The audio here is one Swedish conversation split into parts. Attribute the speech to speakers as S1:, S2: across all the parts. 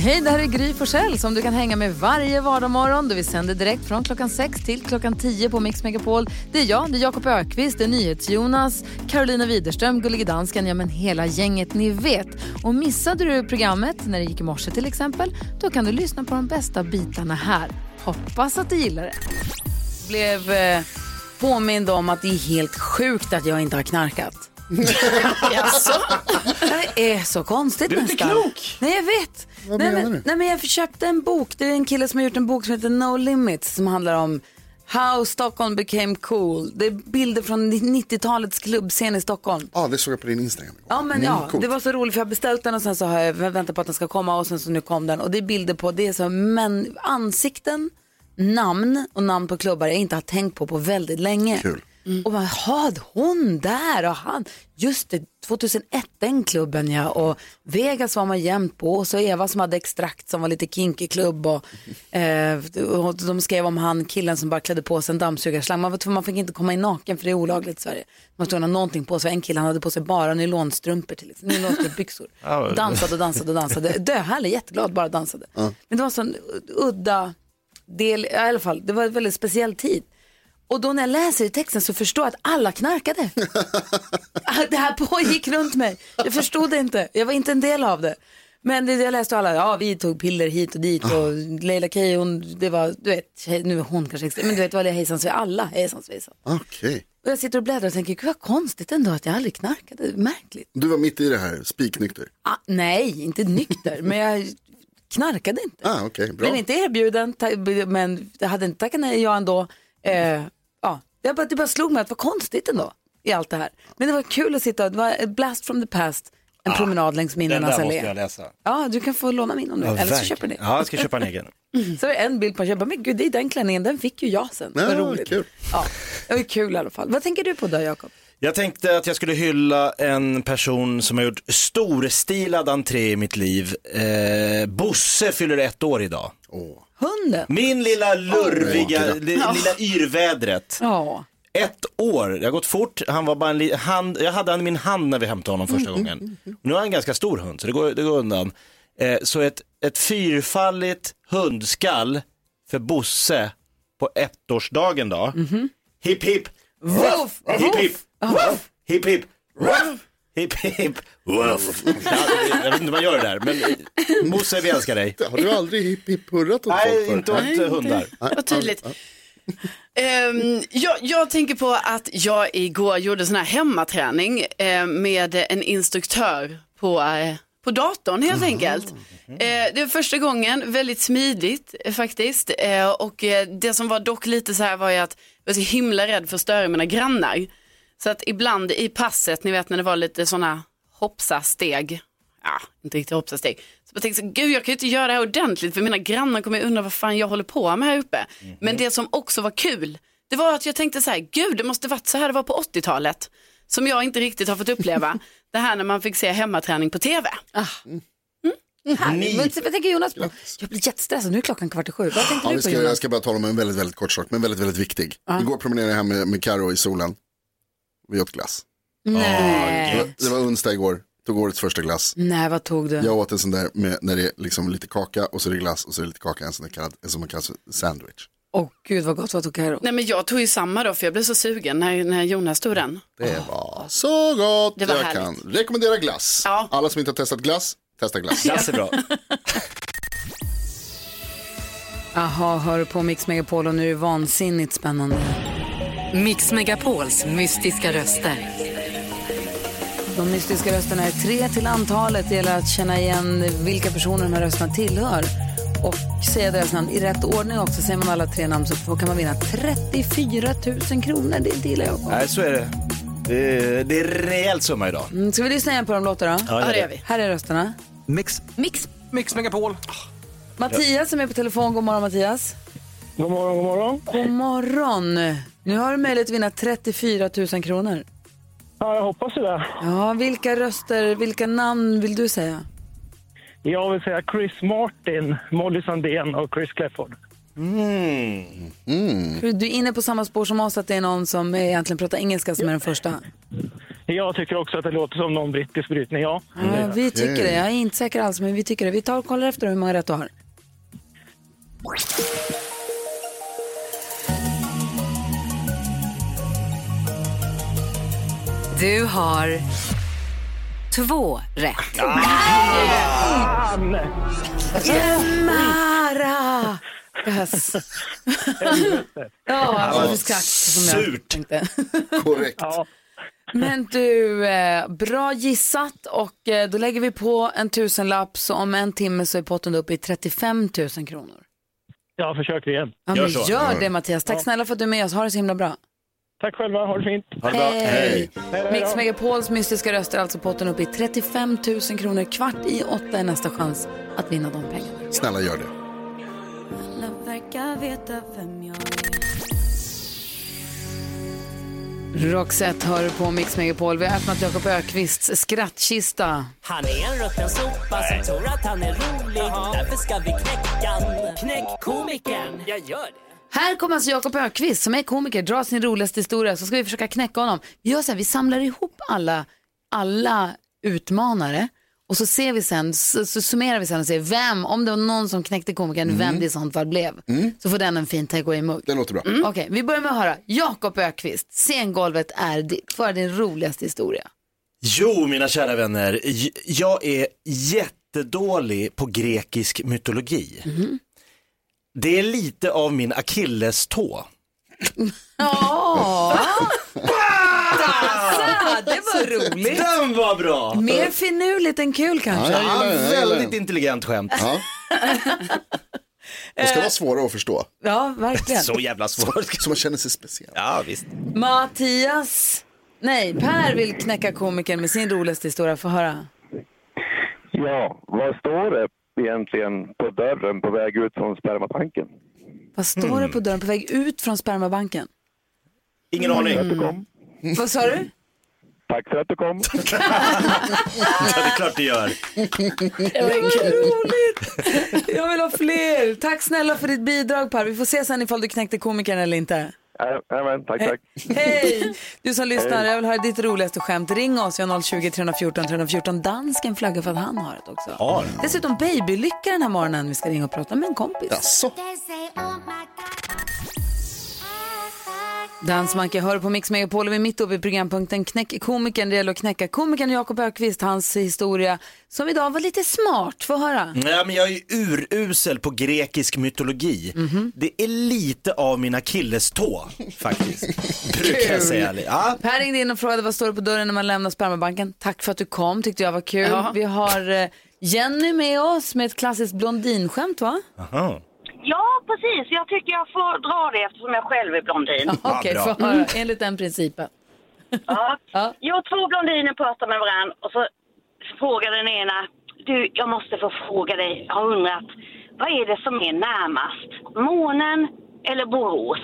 S1: Hej, det här är Gry Forssell som du kan hänga med varje vardagsmorgon. Vi sänder direkt från klockan 6 till klockan 10 på Mix Megapol. Det är jag, det är Jakob Ökvist, det är NyhetsJonas, Carolina Widerström, Gullige Dansken, ja men hela gänget ni vet. Och missade du programmet när det gick i morse till exempel, då kan du lyssna på de bästa bitarna här. Hoppas att du gillar det.
S2: blev eh, påmind om att det är helt sjukt att jag inte har knarkat. Det är så konstigt nästan. Du är inte klok. Nej, jag vet.
S3: Vad
S2: nej,
S3: menar
S2: men,
S3: du?
S2: nej, men jag köpte en bok. Det är en kille som har gjort en bok som heter No Limits som handlar om How Stockholm became cool. Det är bilder från 90-talets klubbscen i Stockholm.
S4: Ja, det såg jag på din Instagram igår.
S2: Ja, men
S4: Mm,
S2: ja,
S4: coolt.
S2: det var så roligt för jag har beställt den och sen så har jag väntat på att den ska komma och sen så nu kom den. Och det är bilder på, det är så men, ansikten, namn och namn på klubbar jag inte har tänkt på på väldigt länge.
S4: Kul.
S2: Mm. Och man, had hon där och han, just det, 2001 den klubben ja och Vegas var man jämt på och så Eva som hade extrakt som var lite kinky klubb och, eh, och de skrev om han killen som bara klädde på sig en dammsugarslang. Man, var tvungen- man fick inte komma in naken för det är olagligt i Sverige. Man måste ha någonting på sig, en kille han hade på sig bara nylonstrumpor till exempel, nylonstrumpbyxor. dansade och dansade och dansade. Döhärlig, jätteglad, bara dansade. Men det var så en udda del, ja, i alla fall, det var en väldigt speciell tid. Och då när jag läser i texten så förstår jag att alla knarkade. det här pågick runt mig. Jag förstod det inte. Jag var inte en del av det. Men det jag läste och alla, ja vi tog piller hit och dit och Leila Kay, hon, det var, du vet, tjej- nu är hon kanske extrem, men du vet vad det är hejsan svejsan, alla hejsan svejsan.
S4: Okej.
S2: Och jag sitter och bläddrar och tänker, gud vad konstigt ändå att jag aldrig knarkade, märkligt.
S4: Du var mitt i det här, spiknykter.
S2: Ah, nej, inte nykter, men jag knarkade inte.
S4: Ah, okej, bra.
S2: Blev inte erbjuden, ta- men jag hade inte tackat nej jag ändå. Eh, ja. jag bara, det bara slog mig att det var konstigt ändå i allt det här. Men det var kul att sitta, det var ett blast from the past, en promenad längs
S5: Ah, Den
S2: minnenas
S5: där måste jag
S2: allé.
S5: läsa.
S2: Ja, du kan få låna min om du vill, eller så köper du den.
S5: Ja, jag ska köpa en egen.
S2: Så är det en bild på en, jag bara, men gud det är den klänningen, den fick ju jag sen. Vad
S4: Ja,
S2: roligt.
S4: kul.
S2: Ja, det var ju kul i alla fall. Vad tänker du på då Jakob?
S5: Jag tänkte att jag skulle hylla en person som har gjort storstilad entré i mitt liv. Eh, Bosse fyller ett år idag.
S4: Åh.
S2: Hunden?
S5: Min lilla lurviga,
S4: Åh,
S5: li, lilla yrvädret.
S2: Ja.
S5: Ett år, det har gått fort. Han var bara en li- hand, jag hade han i min hand när vi hämtade honom första gången. Nu har han en ganska stor hund så det går, det går undan. Eh, så ett, ett fyrfalligt hundskall för Bosse på ettårsdagen då. Hipp hipp,
S2: Woof!
S5: hipp hipp,
S2: Woof!
S5: Woof! hipp hipp, Woof! hipp hipp, Woof! Ja, det- Jag vet inte vad man gör det där men eh, Bosse vi älskar dig.
S4: Har du aldrig hipp hipp hurrat åt folk
S5: Nej,
S4: förr?
S5: inte åt eh, hundar.
S6: Vad tydligt. Ehm, jag, jag tänker på att jag igår gjorde sån här hemmaträning eh, med en instruktör på, eh, på datorn helt enkelt. Eh, det var första gången, väldigt smidigt eh, faktiskt. Eh, och eh, det som var dock lite så här var ju att jag var så himla rädd för att störa mina grannar. Så att ibland i passet, ni vet när det var lite sådana hoppsa-steg, ja, inte riktigt hoppsa-steg, så jag tänkte så, gud jag kan ju inte göra det här ordentligt för mina grannar kommer ju undra vad fan jag håller på med här uppe. Men det som också var kul, det var att jag tänkte så här, gud det måste varit så här det var på 80-talet, som jag inte riktigt har fått uppleva, det här när man fick se hemmaträning på tv.
S2: Härligt. Men Vad tänker Jonas på? Jag blir jättestressad, nu är klockan kvart i sju. Vad tänkte
S4: Ja,
S2: du
S4: vi
S2: på
S4: ska,
S2: Jonas?
S4: jag ska bara tala om en väldigt, väldigt kort sak, men väldigt, väldigt viktig. Igår promenerade jag hem med, med Karo i solen. Vi åt glass.
S2: Nej.
S4: Det var, det var onsdag igår, tog årets första glass.
S2: Nej, vad tog du?
S4: Jag åt en sån där med, när det är liksom lite kaka och så är det glass och så är det lite kaka, en sån där kallad, en som man kallar för sandwich.
S2: Åh gud vad gott, vad tog Carro?
S6: Nej men jag tog ju samma då för jag blev så sugen när, när Jonas tog den.
S4: Det var så gott
S6: Det var
S4: jag
S6: härligt.
S4: kan. Rekommendera glass.
S6: Ja.
S4: Alla som inte har testat glass, testa glass.
S5: Glass är bra.
S2: Aha, hör på Mix Megapol och nu är det vansinnigt spännande.
S1: Mix Megapols mystiska röster.
S2: De mystiska rösterna är tre till antalet. Det gäller att känna igen vilka personer de här rösterna tillhör. Och säga deras namn i rätt ordning också. Säger man alla tre namn så kan man vinna 34 000 kronor. Det inte gillar jag.
S5: Nej, så är det. Det är, det är rejäl summa idag.
S2: Mm, Ska vi lyssna igen på de låtarna?
S5: Ja,
S6: Ja det gör vi.
S2: Här är rösterna.
S7: Mix.
S1: Mix.
S7: Mix Megapol.
S2: Mattias som är på telefon. God morgon Mattias.
S8: God morgon, god morgon.
S2: God morgon. Nu har du möjlighet att vinna 34 000 kronor.
S8: Ja, jag hoppas ju det.
S2: Ja, vilka röster, vilka namn vill du säga?
S8: Jag vill säga Chris Martin, Molly Sandén och Chris Clefford.
S2: För Du är inne på samma spår som oss, att det är någon som egentligen pratar engelska som är den första.
S8: Jag tycker också att det låter som någon brittisk brytning, ja.
S2: Ja, vi tycker det. Jag är inte säker alls, men vi tycker det. Vi tar och kollar efter hur många rätt du har.
S9: Du har två rätt.
S8: Fan!
S2: Mara! Yes. ja, jag fick skratt som jag
S5: surt.
S2: tänkte.
S4: Korrekt.
S8: Ja,
S2: Men du, eh, bra gissat och eh, då lägger vi på en tusenlapp så om en timme så är potten uppe i 35 000 kronor.
S8: jag försöker igen.
S2: Ja,
S5: Gör
S2: men
S5: så.
S2: gör det Mattias. Tack snälla för att du är med oss. Ha det så himla bra.
S8: Tack själva, ha det fint.
S5: Ha det bra. Hej.
S2: Mix Megapols mystiska röster, alltså potten uppe i 35 000 kronor. Kvart i åtta är nästa chans att vinna de pengarna.
S4: Snälla gör det.
S2: Roxette hör på Mix Megapol. Vi har öppnat Jakob Ökvists skrattkista.
S10: Han är en rutten sopa som tror att han är rolig. Därför ska vi knäcka Knäck komikern. Jag gör det.
S2: Här kommer alltså Jakob Ökvist som är komiker, drar sin roligaste historia så ska vi försöka knäcka honom. Vi gör så här, vi samlar ihop alla, alla utmanare och så ser vi sen, så, så summerar vi sen och ser vem, om det var någon som knäckte komikern,
S4: Mm.
S2: vem det i sånt fall blev. Så får den en fin takeaway-mugg.
S4: Det låter bra.
S2: Okej, vi börjar med att höra. Jakob Ökvist, scengolvet är ditt. För din roligaste historia.
S5: Jo, mina kära vänner, j- jag är jättedålig på grekisk mytologi. Det är lite av min akillestå.
S2: Ja, det var roligt.
S5: Den var bra!
S2: Mer finurligt än kul kanske.
S4: Ja, jag gillar
S5: Ja,
S4: den, jag gillar
S5: väldigt
S4: den.
S5: intelligent skämt.
S4: Ja. De ska vara svåra att förstå,
S2: Ja, verkligen.
S5: Så jävla svårt.
S4: så man känner sig speciell.
S5: Ja, visst.
S2: Mattias, nej, Per vill knäcka komikern med sin roligaste historia. Få höra.
S8: Ja, vad står det egentligen på dörren på väg ut från spermatanken?
S2: Vad står det på dörren på väg ut från spermabanken?
S5: Ingen aning.
S2: Vad sa du?
S8: Tack för att du kom.
S5: Ja, det är klart det gör.
S2: Jag vill ha fler. Tack snälla för ditt bidrag Per. Vi får se sen ifall du knäckte komikern eller inte.
S8: Jajamän, tack, tack.
S2: Hej! Du som lyssnar, jag vill höra ditt roligaste skämt. Ring oss, vi har 020 314 314. Dansken flaggar för att han har det också.
S5: Har.
S2: Dessutom babylycka den här morgonen. Vi ska ringa och prata med en kompis.
S4: Jaså?
S2: Dansmanke hör på Mix Megapol och vi är mitt uppe i programpunkten Knäck komikern. Det gäller att knäcka komikern Jakob Ökvist, hans historia som idag var lite smart. Få höra.
S5: Nej, men jag är urusel på grekisk mytologi. Det är lite av min akillestå faktiskt. Brukar jag säga. Ja.
S2: Per ringde in och frågade vad står det på dörren när man lämnar spermabanken. Tack för att du kom, tyckte jag var kul.
S6: Ja.
S2: Vi har eh, Jenny med oss med ett klassiskt blondinskämt va?
S5: Aha.
S11: Ja, precis. Jag tycker jag får dra det eftersom jag själv är blondin.
S5: Ja,
S2: Okej,
S5: bra.
S2: få höra. Enligt den principen. Ja.
S11: Jo, två blondiner pratar med varandra och så frågar den ena. Du, jag måste få fråga dig. Jag har undrat. Vad är det som är närmast? Månen eller Borås?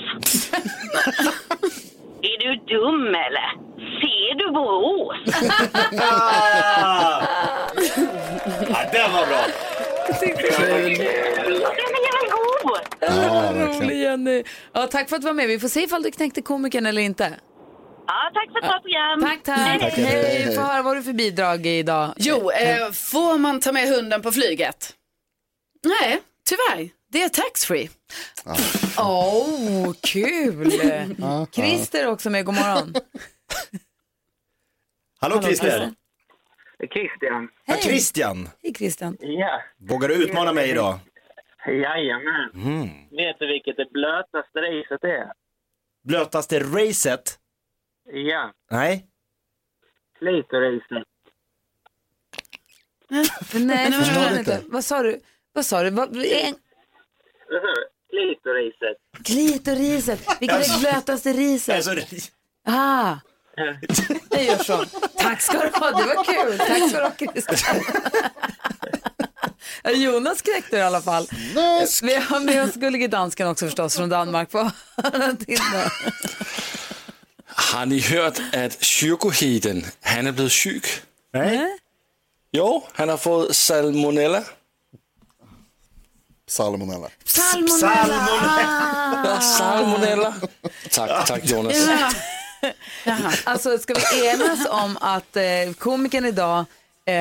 S11: är du dum eller? Ser du Borås?
S5: Ja, den var bra.
S11: Den är väl god?
S4: Ja, verkligen.
S2: Rolig Jenny. Ja, tack för att du var med. Vi får se ifall du knäckte komikern eller inte.
S11: Ja, tack för ett bra program.
S2: Tack, tack. Mm. Hej, få höra vad har du för bidrag idag?
S6: Jo, eh, får man ta med hunden på flyget? Nej, tyvärr. Det är taxfree.
S2: Åh, oh, kul! Christer är också med, god morgon.
S5: Hallå Christer.
S8: Christian.
S5: Ja, Christian.
S2: Hej Christian.
S8: Ja,
S5: Vågar du utmana mig idag?
S8: Eh, jajamän.
S12: Mm.
S8: Vet du vilket det blötaste riset är?
S5: Blötaste racet?
S8: Ja,
S5: Nej.
S8: klitoriset.
S2: Nej, jag
S4: förstår
S2: förstår
S4: inte.
S2: inte. Vad sa du? Vad sa du? Vad, en,
S8: Klitoriset.
S2: klitoriset, vilket är det blötaste riset?
S5: Alltså,
S2: Ah. Jag gör så. Tack ska du ha, det var kul. Tack ska du ha Christian. Ja, Jonas knäckte det i alla fall. Vi har med oss gullige dansken också förstås från Danmark. Får höra till då.
S12: Har ni hørt, at kyrkoheden, han er blevet syg? Nej. Jo, han har fået salmonella.
S4: Salmonella.
S2: Salmonella!
S12: Ah, salmonella. Tak, tak Jonas.
S2: Alltså ska vi enas om att eh, komikern idag eh,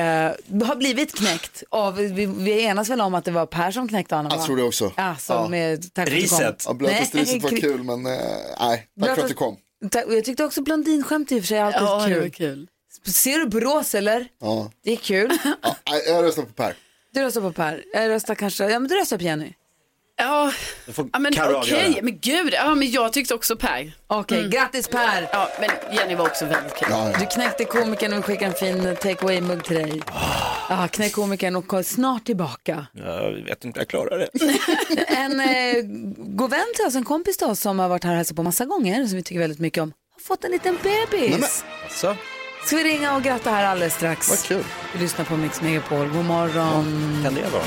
S2: har blivit knäckt av, vi, vi enas väl om att det var Per som knäckte honom?
S4: Jag
S2: va?
S4: tror det också.
S2: Ja, som med, tack för att du kom.
S4: Ja, Blötaste riset var
S2: Nej,
S4: kul, men eh, nej, tack för att du kom.
S2: Tack, och jag tyckte också blondinskämt i och för sig är alltid
S6: Ja, det
S2: kul.
S6: var kul.
S2: Ser du Borås eller?
S4: Ja.
S2: Det är kul.
S4: Ja, nej, jag röstar på Per.
S2: Du röstar på Per. Jag röstar kanske, ja men du röstar på Jenny.
S6: Ja, ja men
S2: Karo
S6: okej,
S2: avgöra.
S6: men gud, ja, men jag tyckte också Per.
S2: Okej,
S6: Mm.
S2: grattis Per!
S6: Ja, men Jenny var också väldigt kul.
S2: Du knäckte komikern och vi skickar en fin take away-mugg till dig. Ah, knäck komikern och kom snart tillbaka.
S5: Jag vet inte, jag klarar det.
S2: En eh, god vän till oss, en kompis till oss som har varit här och hälsat på massa gånger, som vi tycker väldigt mycket om, har fått en liten bebis.
S5: Alltså.
S2: Ska vi ringa och gratta här alldeles strax? Vad kul. Vi lyssnar på Mix Megapol. God morgon.
S5: Kan det vara?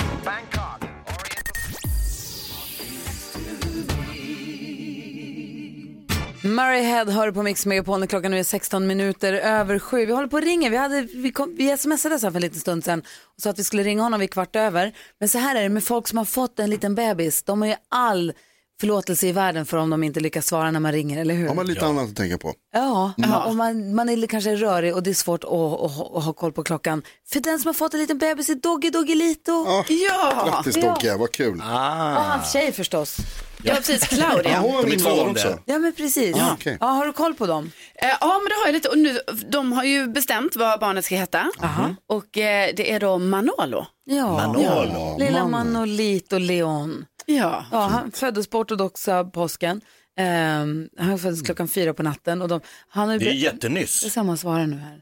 S2: Murray Head hör på Mix Megapol när klockan nu är 16 minuter över sju. Vi håller på att ringa. Vi, hade, vi, kom, vi smsade så här för en liten stund sedan och sa att vi skulle ringa honom vid kvart över. Men så här är det med folk som har fått en liten bebis. De har ju all förlåtelse i världen för om de inte lyckas svara när man ringer, eller hur?
S4: Har man lite annat att tänka på?
S2: Ja,
S4: Mm.
S2: och man, man är kanske rörig och det är svårt att, att, att ha koll på klockan. För den som har fått en liten bebis är Doggy Doggelito.
S6: ja!
S4: Grattis Dogge, vad kul.
S2: Och hans tjej förstås.
S6: Ja, precis. Claudia.
S4: Ja, hon var Ah.
S6: De är
S4: min
S6: två
S4: vän
S6: om
S4: också.
S6: det.
S2: Ja, men precis.
S6: Ja,
S4: okej.
S2: ja, har du koll på dem?
S6: Eh, Ja, men det har jag lite. Och nu, de har ju bestämt vad barnet ska heta. Och eh, det är då Manolo.
S2: Ja. Ja. Lilla Manolito Leon.
S6: Ja.
S2: ja han föddes på ortodoxa påsken. Ehm, han
S4: Mm.
S2: föddes klockan fyra på natten. Och de, han har ju
S5: Det är
S2: ber-
S5: jättenyss.
S2: Det är samma svar nu här.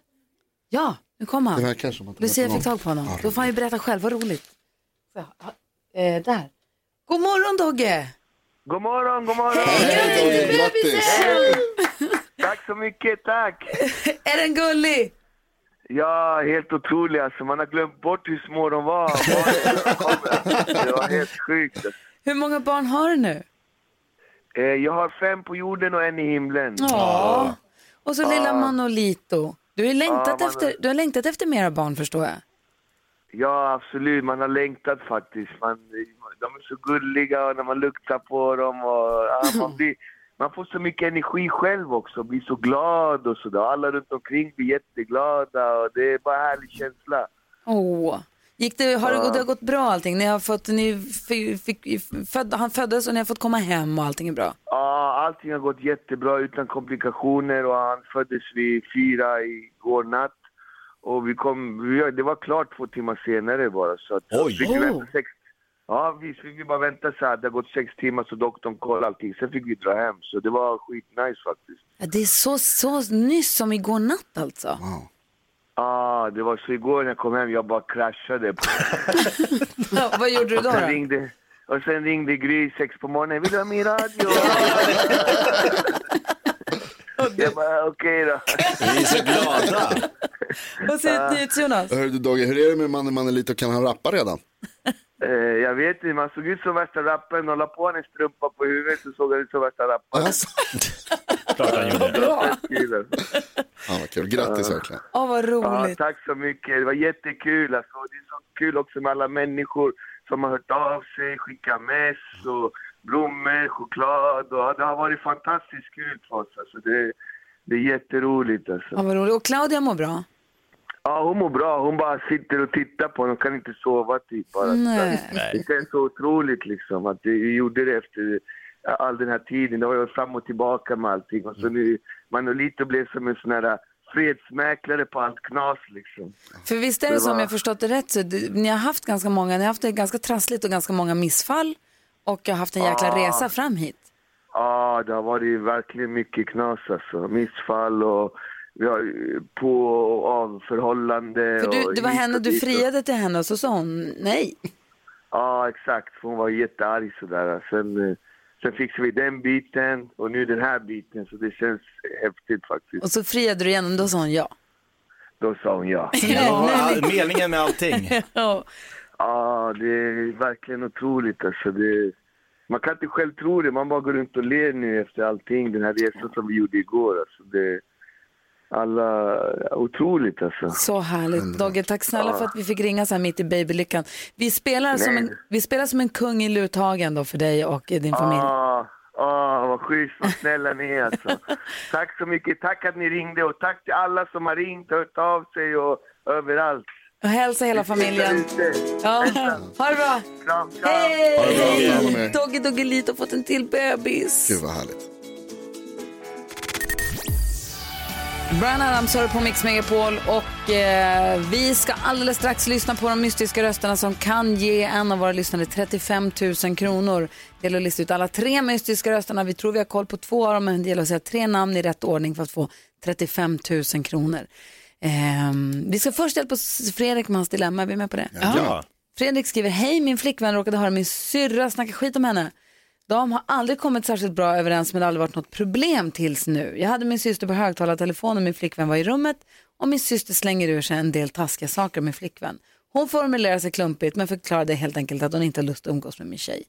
S2: Ja, nu kom han.
S4: Det verkar som att det
S2: Lucia
S4: verkar
S2: fick tag på
S4: vara-
S2: honom.
S4: Ja,
S2: Då får han ju berätta själv, vad roligt. Så, ja, eh, där. God morgon Dogge!
S8: God morgon, god morgon!
S2: Hej, Dogge, grattis!
S8: Tack så mycket, tack!
S2: Är den gullig?
S8: Ja, helt otrolig alltså. Man har glömt bort hur små de var. Barnen kommer. Det var helt sjukt.
S2: Hur många barn har du nu?
S8: Eh, Jag har fem på jorden och en i himlen.
S2: Ja. Och så lilla
S8: Ja.
S2: Manolito. Du har, ju längtat
S8: Ja, Manol-
S2: efter, du har längtat efter mera barn förstår jag.
S8: Ja, absolut. Man har längtat faktiskt. Man, de är så gulliga och när man luktar på dem och ja, man, blir, man får så mycket energi själv också. Blir så glad och sådär. Alla runt omkring blir jätteglada och det är bara härlig känsla.
S2: Åh. Gick det, har, det,
S8: Ja.
S2: det har gått bra allting? Ni har fått, ni fick, fick, född, han föddes och ni har fått komma hem och allting är bra?
S8: Ja, allting har gått jättebra utan komplikationer och han föddes vid fyra igår natt. Och vi kom, vi- det var klart två timmar senare bara så att...
S5: Oj.
S8: Fick vi vänta
S5: Oh.
S8: sex, ja, vi fick vi bara vänta så här, det har gått sex timmar så doktorn kollade allting. Sen fick vi dra hem så det var skitnice faktiskt.
S2: Ja, det är så, så nyss som igår natt alltså.
S8: Ja, det var så igår när jag kom hem, jag bara kraschade.
S2: Ja, vad gjorde du då?
S8: Och sen
S2: då?
S8: ringde, och sen ringde Gry sex på morgonen, vill du ha min radio? jag bara, okej då.
S5: Vi är så glada.
S2: Vad säger NyhetsJonas?
S4: Hörru du Dogge, hur är det med mannen Manelito, kan han rappa redan?
S8: Eh, jag vet inte, man såg ut som värsta rapparen. De la på en strumpa på huvudet så såg han ut som värsta rapparen.
S5: Klart han gjorde.
S8: alltså.
S4: Ja, vad kul, grattis verkligen.
S2: Åh, vad roligt.
S8: tack så mycket. Det var jättekul. Alltså, det är så kul också med alla människor som har hört av sig, skickat mess och blommor, choklad. Och, ja, det har varit fantastiskt kul för oss. Alltså, det, det är jätteroligt. Alltså.
S2: Ja, vad roligt. Och Claudia mår bra?
S8: Ja, hon mår bra. Hon bara sitter och tittar på honom. Hon kan inte sova typ. Bara.
S2: Nej.
S8: Det känns så otroligt liksom att vi gjorde det efter all den här tiden. Det var ju fram och tillbaka med allting. Och så nu, Manolito blev som en sån här fredsmäklare på allt knas liksom.
S2: För visst är det,
S8: Det
S2: som
S8: var-
S2: jag förstått det rätt så du, ni har haft ganska många, ni har haft det ganska trassligt och ganska många missfall och har haft en jäkla
S8: Ja.
S2: resa fram hit.
S8: Ja, det har varit verkligen mycket knas alltså. Missfall och vi har eh, på och av förhållande.
S2: För du,
S8: och
S2: det var
S8: hit
S2: henne,
S8: och
S2: du
S8: dit och-
S2: friade till henne och så sa hon nej.
S8: Ja, exakt. För Hon var jättearg sådär. Sen, eh, sen fixade vi den biten och nu den här biten. Så det känns häftigt faktiskt.
S2: Och så friade du igen och då sa hon ja.
S8: Då sa hon ja.
S5: Ja, meningen med allting.
S2: Ja,
S8: det är verkligen otroligt alltså. Det, Man kan inte själv tro det, man bara går runt och ler nu efter allting. Den här resan som vi gjorde igår. Alltså det, alla, otroligt alltså.
S2: Så härligt. Dogge, tack snälla
S8: Ja.
S2: för att vi fick ringa så här mitt i babylyckan. Vi spelar, som
S8: Nej.
S2: en, vi spelar som en kung i luthagen då för dig och eh, din familj.
S8: Ah, ah, vad schysst, vad snälla ni är alltså. tack så mycket, tack att ni ringde och tack till alla som har ringt och hört av sig och överallt.
S2: Och hälsa hela familjen. Ja. Ha det bra.
S4: Ha det bra. Kram om
S2: Hej!
S4: er.
S2: Dogge Doggelito har fått en till bebis.
S4: Gud vad härligt.
S2: Brian Adams hör på Mix Megapol och eh, vi ska alldeles strax lyssna på de mystiska rösterna som kan ge en av våra lyssnare 35 000 kronor. Det gäller att lista ut alla tre mystiska rösterna. Vi tror vi har koll på två av dem men det gäller att säga tre namn i rätt ordning för att få 35 000 kronor. Ehm, vi ska först hjälpa oss- Fredrik med hans dilemma, är vi med på det?
S5: Ja.
S2: Fredrik skriver, hej min flickvän råkade höra min syrra snacka skit om henne. De har aldrig kommit särskilt bra överens men det har aldrig varit något problem tills nu. Jag hade min syster på högtalartelefon och min flickvän var i rummet och min syster slänger ur sig en del taskiga saker med flickvän. Hon formulerar sig klumpigt men förklarade helt enkelt att hon inte har lust att umgås med min tjej.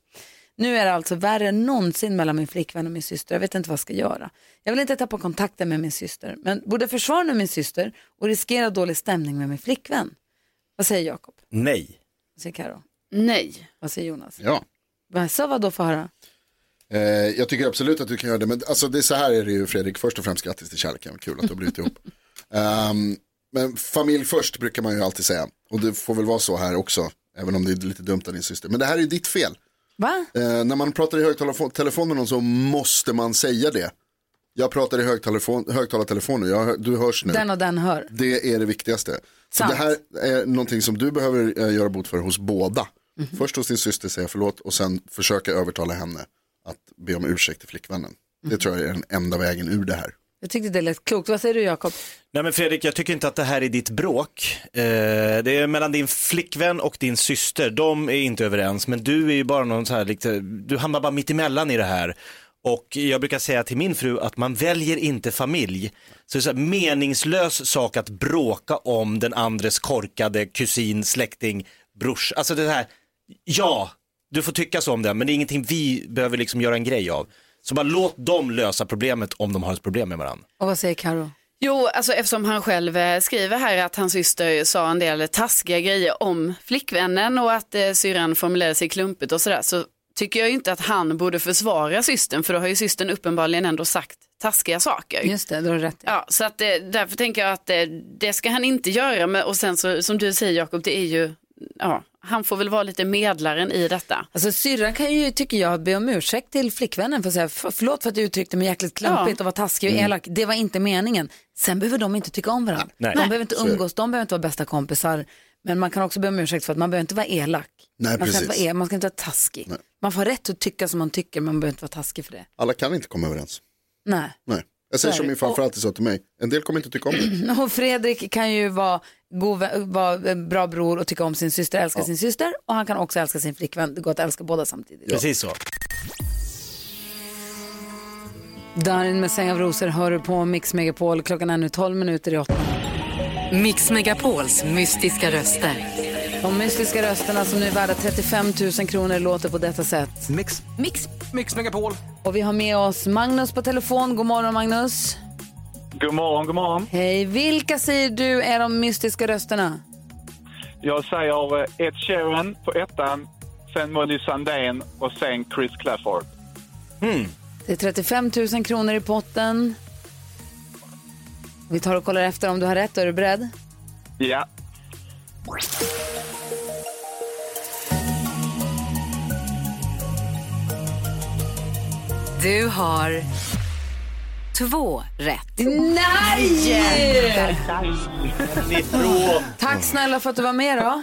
S2: Nu är det alltså värre än någonsin mellan min flickvän och min syster. Jag vet inte vad jag ska göra. Jag vill inte tappa kontakten med min syster men borde försvara min syster och riskera dålig stämning med min flickvän. Vad säger Jakob?
S5: Nej.
S2: Vad säger Karo?
S6: Nej.
S2: Vad säger Jonas?
S4: Ja.
S2: Vad sa vad då för höra?
S4: Eh, jag tycker absolut att du kan göra det, men alltså, det är så här är det ju Fredrik, först och främst grattis till kärleken, kul att du har blivit ihop. Ehm, men familj först brukar man ju alltid säga, och det får väl vara så här också, även om det är lite dumt av din syster. Men det här är ju ditt fel.
S2: Va?
S4: Eh, när man pratar i högtalartelefon med någon så måste man säga det. Jag pratar i högtalartelefon, högtalartelefon nu, jag, hör- du hörs nu.
S2: Den och den hör.
S4: Det är det viktigaste. Så
S2: Sant.
S4: det här är någonting som du behöver eh, göra bot för hos båda. Först hos din syster säga förlåt och sen försöka övertala henne att be om ursäkt till flickvännen. Det tror jag är den enda vägen ur det här.
S2: Jag tyckte det lät klokt. Vad säger du Jakob?
S5: Nej men Fredrik, jag tycker inte att det här är ditt bråk. Eh, det är mellan din flickvän och din syster, de är inte överens, men du är ju bara någon så här, lite, du hamnar bara mitt emellan i det här. Och jag brukar säga till min fru att man väljer inte familj. Så det är så här, meningslös sak att bråka om den andres korkade kusin, släkting, brors. Alltså det här, ja, du får tycka så om det, men det är ingenting vi behöver liksom göra en grej av. Så bara låt dem lösa problemet om de har ett problem med varandra.
S2: Och vad säger Karo?
S6: Jo, alltså eftersom han själv eh, skriver här att hans syster sa en del taskiga grejer om flickvännen och att eh, syrran formulerade sig klumpigt och sådär så tycker jag ju inte att han borde försvara systern för då har ju systern uppenbarligen ändå sagt taskiga saker.
S2: Just det, då har du rätt.
S6: Ja, så att, eh, därför tänker jag att eh, det ska han inte göra men, och sen så, som du säger Jakob, det är ju, ja, han får väl vara lite medlaren i detta.
S2: Alltså syrran kan ju, tycker jag, be om ursäkt till flickvännen för att säga "För- förlåt för att du uttryckte mig jäkligt klumpigt
S6: Ja.
S2: och var taskig och
S6: Mm.
S2: elak. Det var inte meningen. Sen behöver de inte tycka om varandra.
S4: Nej.
S2: De
S4: Nej.
S2: behöver inte
S4: Så är det.
S2: umgås, de behöver inte vara bästa kompisar. Men man kan också be om ursäkt för att man behöver inte vara elak.
S4: Nej,
S2: man, ska inte
S4: precis.
S2: vara el- man ska inte vara taskig.
S4: Nej.
S2: Man får ha rätt att tycka som man tycker, men man behöver inte vara taskig för det.
S4: Alla kan inte komma överens.
S2: Nej.
S4: Nej. Jag
S2: Så är
S4: säger som
S2: det.
S4: min farfar alltid sa till mig, en del kommer inte tycka om det.
S2: Och Fredrik kan ju vara, god, vä- vara en bra bror och tycka om sin syster, älska sin syster och han kan också älska sin flickvän. Det går att älska båda samtidigt.
S5: Precis så.
S2: Darin med Säng av rosor hör du på Mix Megapol. Klockan är nu 12 minuter i åtta.
S9: Mix Megapols mystiska röster.
S2: De mystiska rösterna som Alltså, nu är värda 35 000 kronor låter på detta sätt.
S10: Mix.
S2: Mix.
S10: Mix Megapol.
S2: Och vi har med oss Magnus på telefon. God morgon Magnus.
S13: God morgon, god morgon.
S2: Hej, vilka säger du är de mystiska rösterna?
S13: Jag säger eh, Ed Sheeran på ettan, sen Molly Sandén och sen Chris Clafford.
S2: Det är 35 000 kronor i potten. Vi tar och kollar efter om du har rätt. Är du beredd?
S13: Ja.
S9: Du har två rätt.
S2: Nej!
S13: Ifrån.
S2: Tack snälla för att du var med då.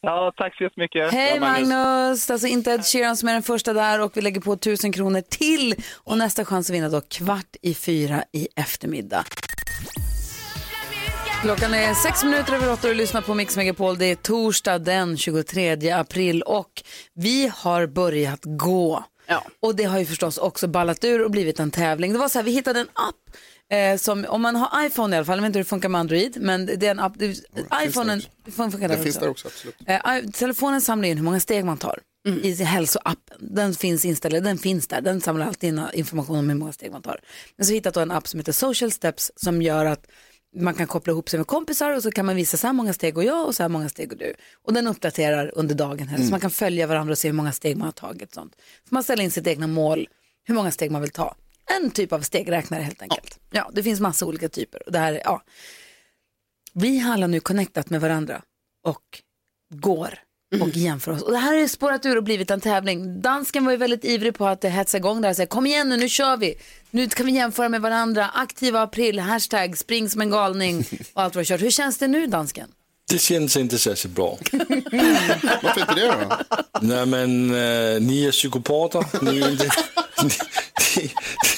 S13: Ja, tack så jättemycket.
S2: Hej
S13: Ja,
S2: Magnus! Alltså inte Ed Sheeran som är den första där och vi lägger på 1000 kronor till. Och nästa chans att vinna då kvart i fyra i eftermiddag. Klockan är sex minuter över åtta och du lyssnar på Mix Megapol. Det är torsdag den 23 april och vi har börjat gå. Och det har ju förstås också ballat ur och blivit en tävling. Det var så här, vi hittade en app eh, som, om man har iPhone i alla fall, jag vet inte hur det funkar med Android, men det är en app, det, iPhonen
S4: finns där
S2: funkar
S4: Det
S2: där ah,
S4: finns där också, absolut. Mm.
S2: Eh, i- telefonen samlar in hur många steg man tar. i hälsoappen. Den finns installerad, den finns där, den samlar alltid in information om hur många steg man tar. Men så hittat då en app som heter Social Steps som gör att man kan koppla ihop sig med kompisar och så kan man visa så här många steg och jag och så här många steg och du. Och den uppdaterar under dagen här, så
S1: Mm.
S2: man kan följa varandra och se hur många steg man har tagit. och Sånt. Så man ställer in sitt egna mål, hur många steg man vill ta. En typ av stegräknare helt enkelt. Ja, det finns massa olika typer. Och det här, är- ja. Vi har alla nu connectat med varandra och går och jämför oss. Och det här har spårat ur och blivit en tävling. Dansken var ju väldigt ivrig på att eh, hetsa igång det här. Så här, Kom igen nu, nu kör vi. Nu kan vi jämföra med varandra. Aktiva april, hashtag spring som en galning och allt vad vi har kört. Hur känns det nu dansken?
S12: Det känns inte särskilt bra.
S4: Varför inte det då?
S12: Nej, men eh, ni är psykopater. Ni, är inte, ni,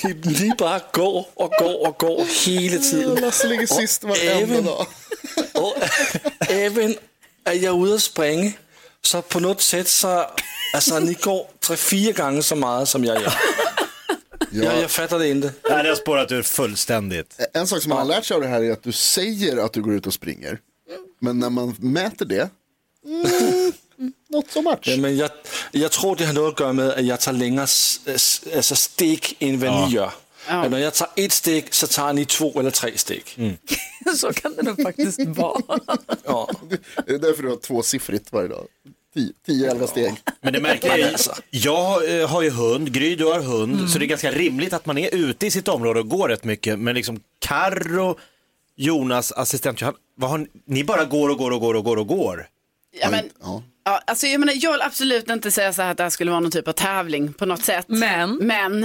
S12: ni, ni bara går och går och går hela tiden.
S4: Mm, Lasse ligger sist varenda dag.
S12: och, även är jag ute och springer, så på något sätt så, alltså ni går tre, fyra gånger så mycket som jag gör. Jag, jag fattar det inte.
S5: Nej, det har spårat ur fullständigt.
S4: Eh, En sak som man har lärt sig av det här är att du säger att du går ut och springer. Men när man mäter det, Mm. Not so much.
S12: Jamen, jeg, jeg tror, det har noget at gøre med, at jeg tager længere s- s- altså stik, end hvad ja.
S5: Ja.
S12: I gør. At når jeg tager et stik, så tager ni to eller tre stik. Mm.
S2: så kan det nog faktiskt vara.
S12: Ja.
S4: är det därför du har tvåsiffrigt varje dag? 10-11 steg.
S5: Men det märkliga är,
S2: Alltså.
S5: jag eh, har ju hund, Gry du har hund,
S2: Mm.
S5: så det är ganska rimligt att man är ute i sitt område och går rätt mycket. Men liksom Karro, Jonas, assistent, han, vad har ni, ni bara går och går och går och går och går.
S6: Ja, men, ja, alltså, jag, menar, jag vill absolut inte säga så här att det här skulle vara någon typ av tävling på något sätt. Men, men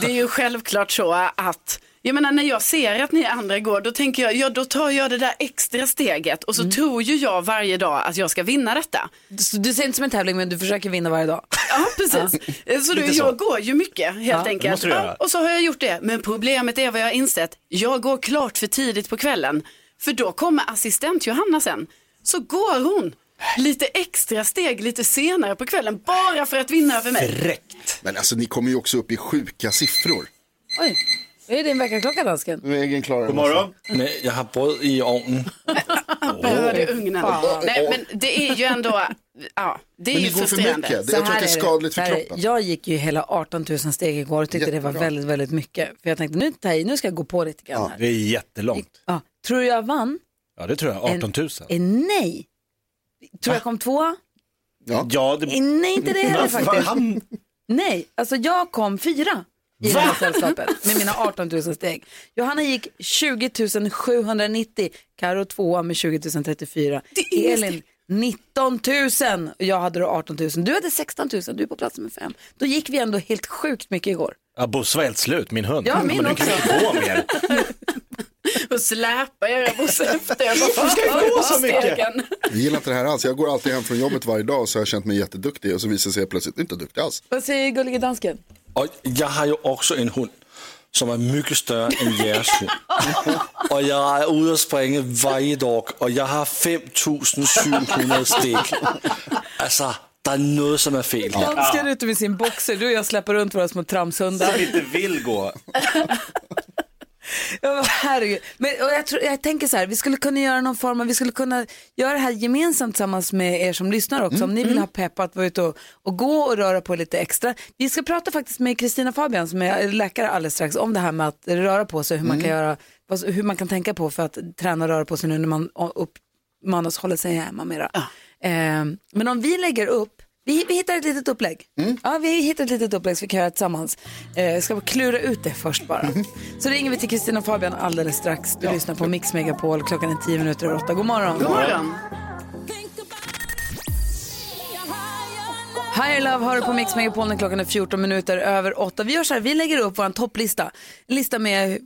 S6: det är ju självklart så att jag menar, när jag ser att ni andra går, då tänker jag, ja då tar jag det där extra steget och så tror ju jag varje dag att jag ska vinna detta.
S2: Du, du ser inte som en tävling men du försöker vinna varje dag.
S6: Ja, precis. Så du,
S2: Lite så.
S6: jag går ju mycket helt
S2: Ja, det
S6: enkelt.
S2: måste du göra.
S6: Ja, och så har jag gjort det. Men problemet är vad jag har insett. Jag går klart för tidigt på kvällen. För då kommer assistent Johanna sen. Så går hon lite extra steg lite senare på kvällen. Bara för att vinna över mig.
S4: Men alltså ni kommer ju också upp i sjuka siffror.
S2: Oj, är det din väckarklocka dansken?
S4: Nu är egen klar.
S12: God morgon. Nej, jag har bröd i ovnen.
S6: Behöver du ugnen?
S2: Fan.
S6: Nej, men det är ju ändå, ja, det är
S2: Men
S6: ju
S2: det går för
S6: frustrerande.
S2: mycket. Det- jag Så tror att här det är är det. skadligt för Så här är det. kroppen. Jag gick ju hela 18 000 steg igår och tyckte det var
S6: Jättebra.
S2: väldigt, väldigt mycket. För jag tänkte nu, tar jag i, nu ska jag gå på lite grann. här.
S5: Det är jättelångt.
S2: Ja. Tror du jag vann?
S5: Ja, det tror jag. 18 000.
S2: Eh, nej. Tror jag kom tvåa?
S4: Ja,
S5: det...
S2: Eh, nej, inte det heller
S5: Varför
S2: faktiskt.
S5: hamn-
S2: Nej, alltså jag kom fyra i det här sällskapet med mina 18 000 steg. Johanna gick 20 790, Karo tvåa med 20 034, Elin 19 000 och jag hade då 18 000. Du hade 16 000, du är på plats nummer fem. Då gick vi ändå helt sjukt mycket igår.
S5: Ja, Bosse var helt slut, min hund.
S2: Ja, min
S5: Men du kan ju inte gå mer.
S6: Och släpa er och så efter. Jag
S5: Varför ska jag gå så mycket?
S6: Stegen.
S4: Jag Alltså, gillar inte det här alls. Jag går alltid hem från jobbet varje dag så har jag känt mig jätteduktig och så visar det sig att jag plötsligt inte duktig alls.
S2: Vad säger gullige dansken?
S12: Och jag har ju också en hund, som är mycket större än jeres hund. Och jag är ute och springer varje dag och jag har 5700 steg. Alltså, det är något som är fel. här.
S2: Dansken ute med sin boxer, du och jag släpper runt våra små tramshundar.
S5: Som inte vill gå.
S2: Ja, men herregud. Men, och jag, tror, jag tänker så här, vi skulle kunna göra någon form av, vi skulle kunna göra det här gemensamt tillsammans med er som lyssnar också. Om ni vill ha pepp att vara ute och, och gå och röra på lite extra. Vi ska prata faktiskt med Kristina Fabian som är läkare alldeles strax om det här med att röra på sig, hur man
S1: Mm.
S2: kan göra, vad, hur man kan tänka på för att träna och röra på sig nu när man uppmanas hålla sig hemma mera. Ehm, men om vi lägger upp vi, vi hittar ett litet upplägg. Ja, vi hittar ett litet upplägg så vi kan göra tillsammans. Eh, ska bara klura ut det först bara. Så ringer vi till Kristina och Fabian alldeles strax. Du lyssnar på Mix Megapol. Klockan är tio minuter över åtta. God morgon.
S6: God morgon.
S2: Higher Love hör du på Mix Megapol när klockan är 14 minuter över åtta. Vi gör så här, vi lägger upp vår topplista. En lista med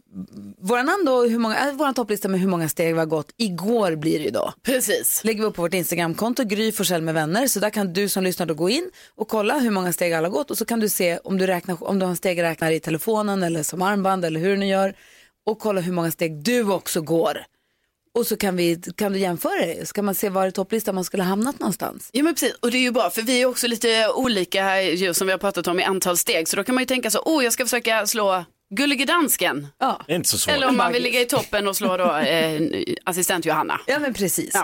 S2: våra namn då, och hur många, äh, vår topplista med hur många steg vi har gått. Igår blir det ju då.
S6: Precis.
S2: Lägger vi upp på vårt Instagramkonto, Gry Forssell med vänner. Så där kan du som lyssnar då gå in och kolla hur många steg alla har gått. Och så kan du se om du, räknar, om du har en stegräknare i telefonen eller som armband eller hur du nu gör. Och kolla hur många steg du också går. Och så kan, vi, kan du jämföra det. Så kan man se var i topplistan man skulle ha hamnat någonstans.
S6: Ja men precis, och det är ju bra för vi är också lite olika här ju som vi har pratat om i antal steg. Så då kan man ju tänka så, oh jag ska försöka slå Gullige dansken.
S5: Det är inte så svårt.
S6: Eller om man vill ligga i toppen och slå då, eh, assistent Johanna.
S2: Ja men precis.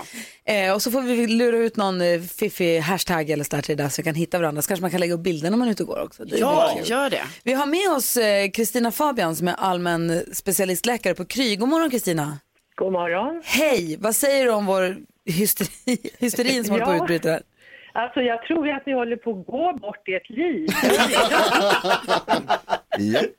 S2: Eh, och så får vi lura ut någon eh, fiffig hashtag eller så där till det där så vi kan hitta varandra. Så kanske man kan lägga upp bilder när man är ute och går också. Det är
S6: Ja,
S2: väldigt kul.
S6: gör det.
S2: Vi har med oss eh, Kristina Fabian som är allmän specialistläkare på Kry. God morgon Kristina.
S14: God morgon.
S2: Hej, vad säger du om vår hysteri, hysterin som håller på att
S14: Ja.
S2: utbryta här?
S14: Alltså jag tror ju att ni håller på att gå bort i ett liv.
S4: Japp.
S14: Ja, och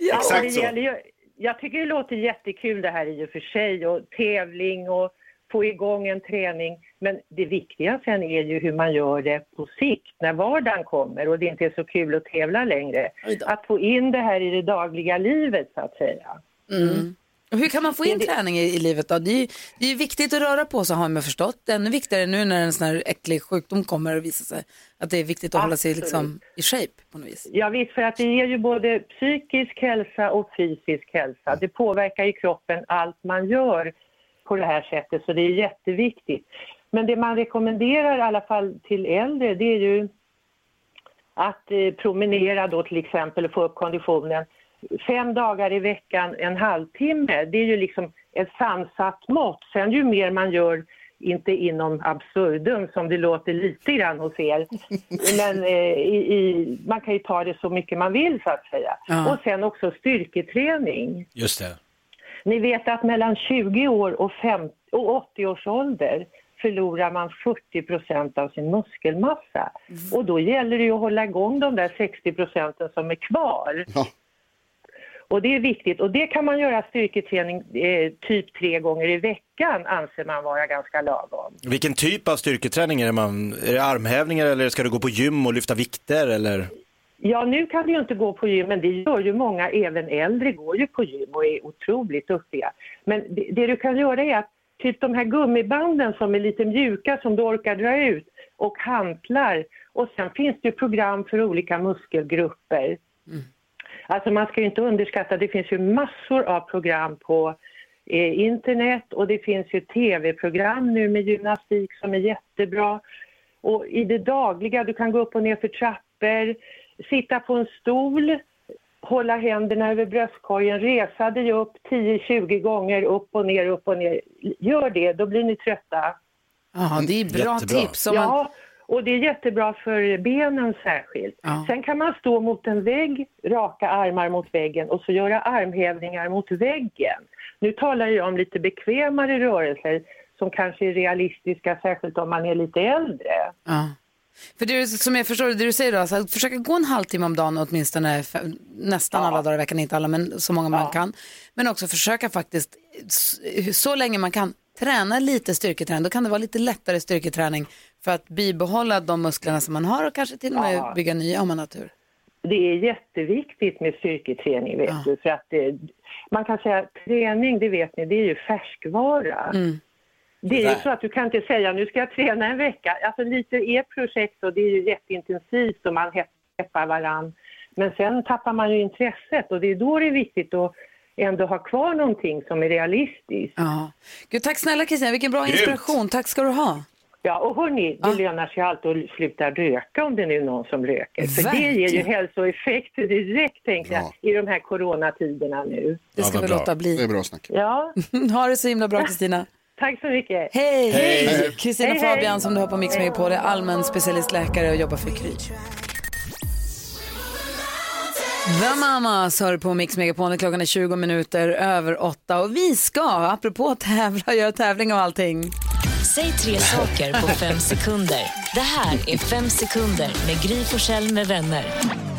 S14: det
S4: Exakt så.
S14: gäller ju, jag tycker det låter jättekul det här i och för sig och tävling och få igång en träning. Men det viktiga sen är ju hur man gör det på sikt när vardagen kommer och det inte är så kul att tävla längre. Att få in det här i det dagliga livet så att säga.
S2: Mm. Och Hur kan man få in
S14: Det-
S2: träning i, i livet då? Det är ju det är ju viktigt att röra på sig har man förstått. Ännu viktigare nu när en sån här äcklig sjukdom kommer och visar sig. Att det är viktigt att hålla sig liksom i shape på något vis.
S14: Ja visst, för att det ger ju både psykisk hälsa och fysisk hälsa. Det påverkar ju kroppen allt man gör på det här sättet, så det är jätteviktigt. Men det man rekommenderar i alla fall till äldre, det är ju att eh, promenera då till exempel och få upp konditionen fem dagar i veckan, en halvtimme. Det är ju liksom ett sansat mått. Sen ju mer man gör, inte inom absurdum som det låter lite grann hos er, men eh, i, i, man kan ju ta det så mycket man vill så att säga.
S5: Ja.
S14: Och sen också styrketräning.
S5: Just det.
S14: Ni vet att mellan 20 år och, 50, och 80 års ålder förlorar man 40 procent av sin muskelmassa. Och då gäller det ju att hålla igång de där 60 procenten som är kvar. Och det är viktigt. Och det kan man göra styrketräning eh, typ tre gånger i veckan anser man vara ganska lagom.
S5: Vilken typ av styrketräning är det man, är det armhävningar eller ska du gå på gym och lyfta vikter eller?
S14: Ja, nu kan vi ju inte gå på gym, men det gör ju många, även äldre går ju på gym och är otroligt duktiga. Men det, det du kan göra är att typ de här gummibanden som är lite mjuka som du orkar dra ut och hantlar. Och sen finns det ju program för olika muskelgrupper. Alltså man ska ju inte underskatta, det finns ju massor av program på eh, internet och det finns ju tv-program nu med gymnastik som är jättebra. Och i det dagliga, du kan gå upp och ner för trappor, sitta på en stol, hålla händerna över bröstkorgen, resa dig upp 10-20 gånger upp och ner, upp och ner. Gör det, då blir ni trötta.
S1: Ja, det är bra
S14: Jättebra.
S1: tips. Om man...
S14: Ja, och det är jättebra för benen särskilt. Sen kan man stå mot en vägg, raka armar mot väggen och så göra armhävningar mot väggen. Nu talar jag om lite bekvämare rörelser som kanske är realistiska, särskilt om man är lite äldre.
S1: Ja. För det är som jag förstår det du säger då, alltså, att försöka gå en halvtimme om dagen åtminstone f- nästan alla dagar i veckan, inte alla men så många man kan. Men också försöka faktiskt s- så länge man kan träna lite styrketräning, då kan det vara lite lättare styrketräning för att bibehålla de musklerna som man har och kanske till och med
S14: Ja.
S1: bygga nya om man har tur.
S14: Det är jätteviktigt med styrketräning, vet du. För att eh, man kan säga att träning, det vet ni, det är ju färskvara. Det är ju
S15: Tyvärr.
S14: så att du kan inte säga nu ska jag träna en vecka. Alltså lite ert projekt och det är ju jätteintensivt och man peppar varann. Men sen tappar man ju intresset och det är då det är viktigt att ändå ha kvar någonting som är realistiskt.
S1: Ja. Gud, tack snälla Kristina, vilken bra
S14: Grymt.
S1: inspiration, tack ska du ha.
S14: Ja, och hörni, det lönar sig alltid att sluta röka om det nu är någon som röker. För det ger ju
S1: Verkligen.
S14: hälsoeffekter direkt, tänker jag, i de här coronatiderna nu.
S1: Det ska Ja, vad vi bra. låta bli. Det är
S4: bra snack.
S14: Ja.
S1: ha det så himla bra Kristina.
S14: Tack så mycket.
S1: Hej!
S14: Hej.
S1: Kristina
S14: Hej, hej.
S1: Fabian som du har på Mix Megapol är allmän specialistläkare och jobbar för Kry. The Mamas hör på Mix Megapol. Klockan är 20 minuter över åtta och vi ska, apropå tävla, göra tävling och allting.
S16: Säg tre saker på fem sekunder. Det här är Fem sekunder med Gry Forssell med vänner.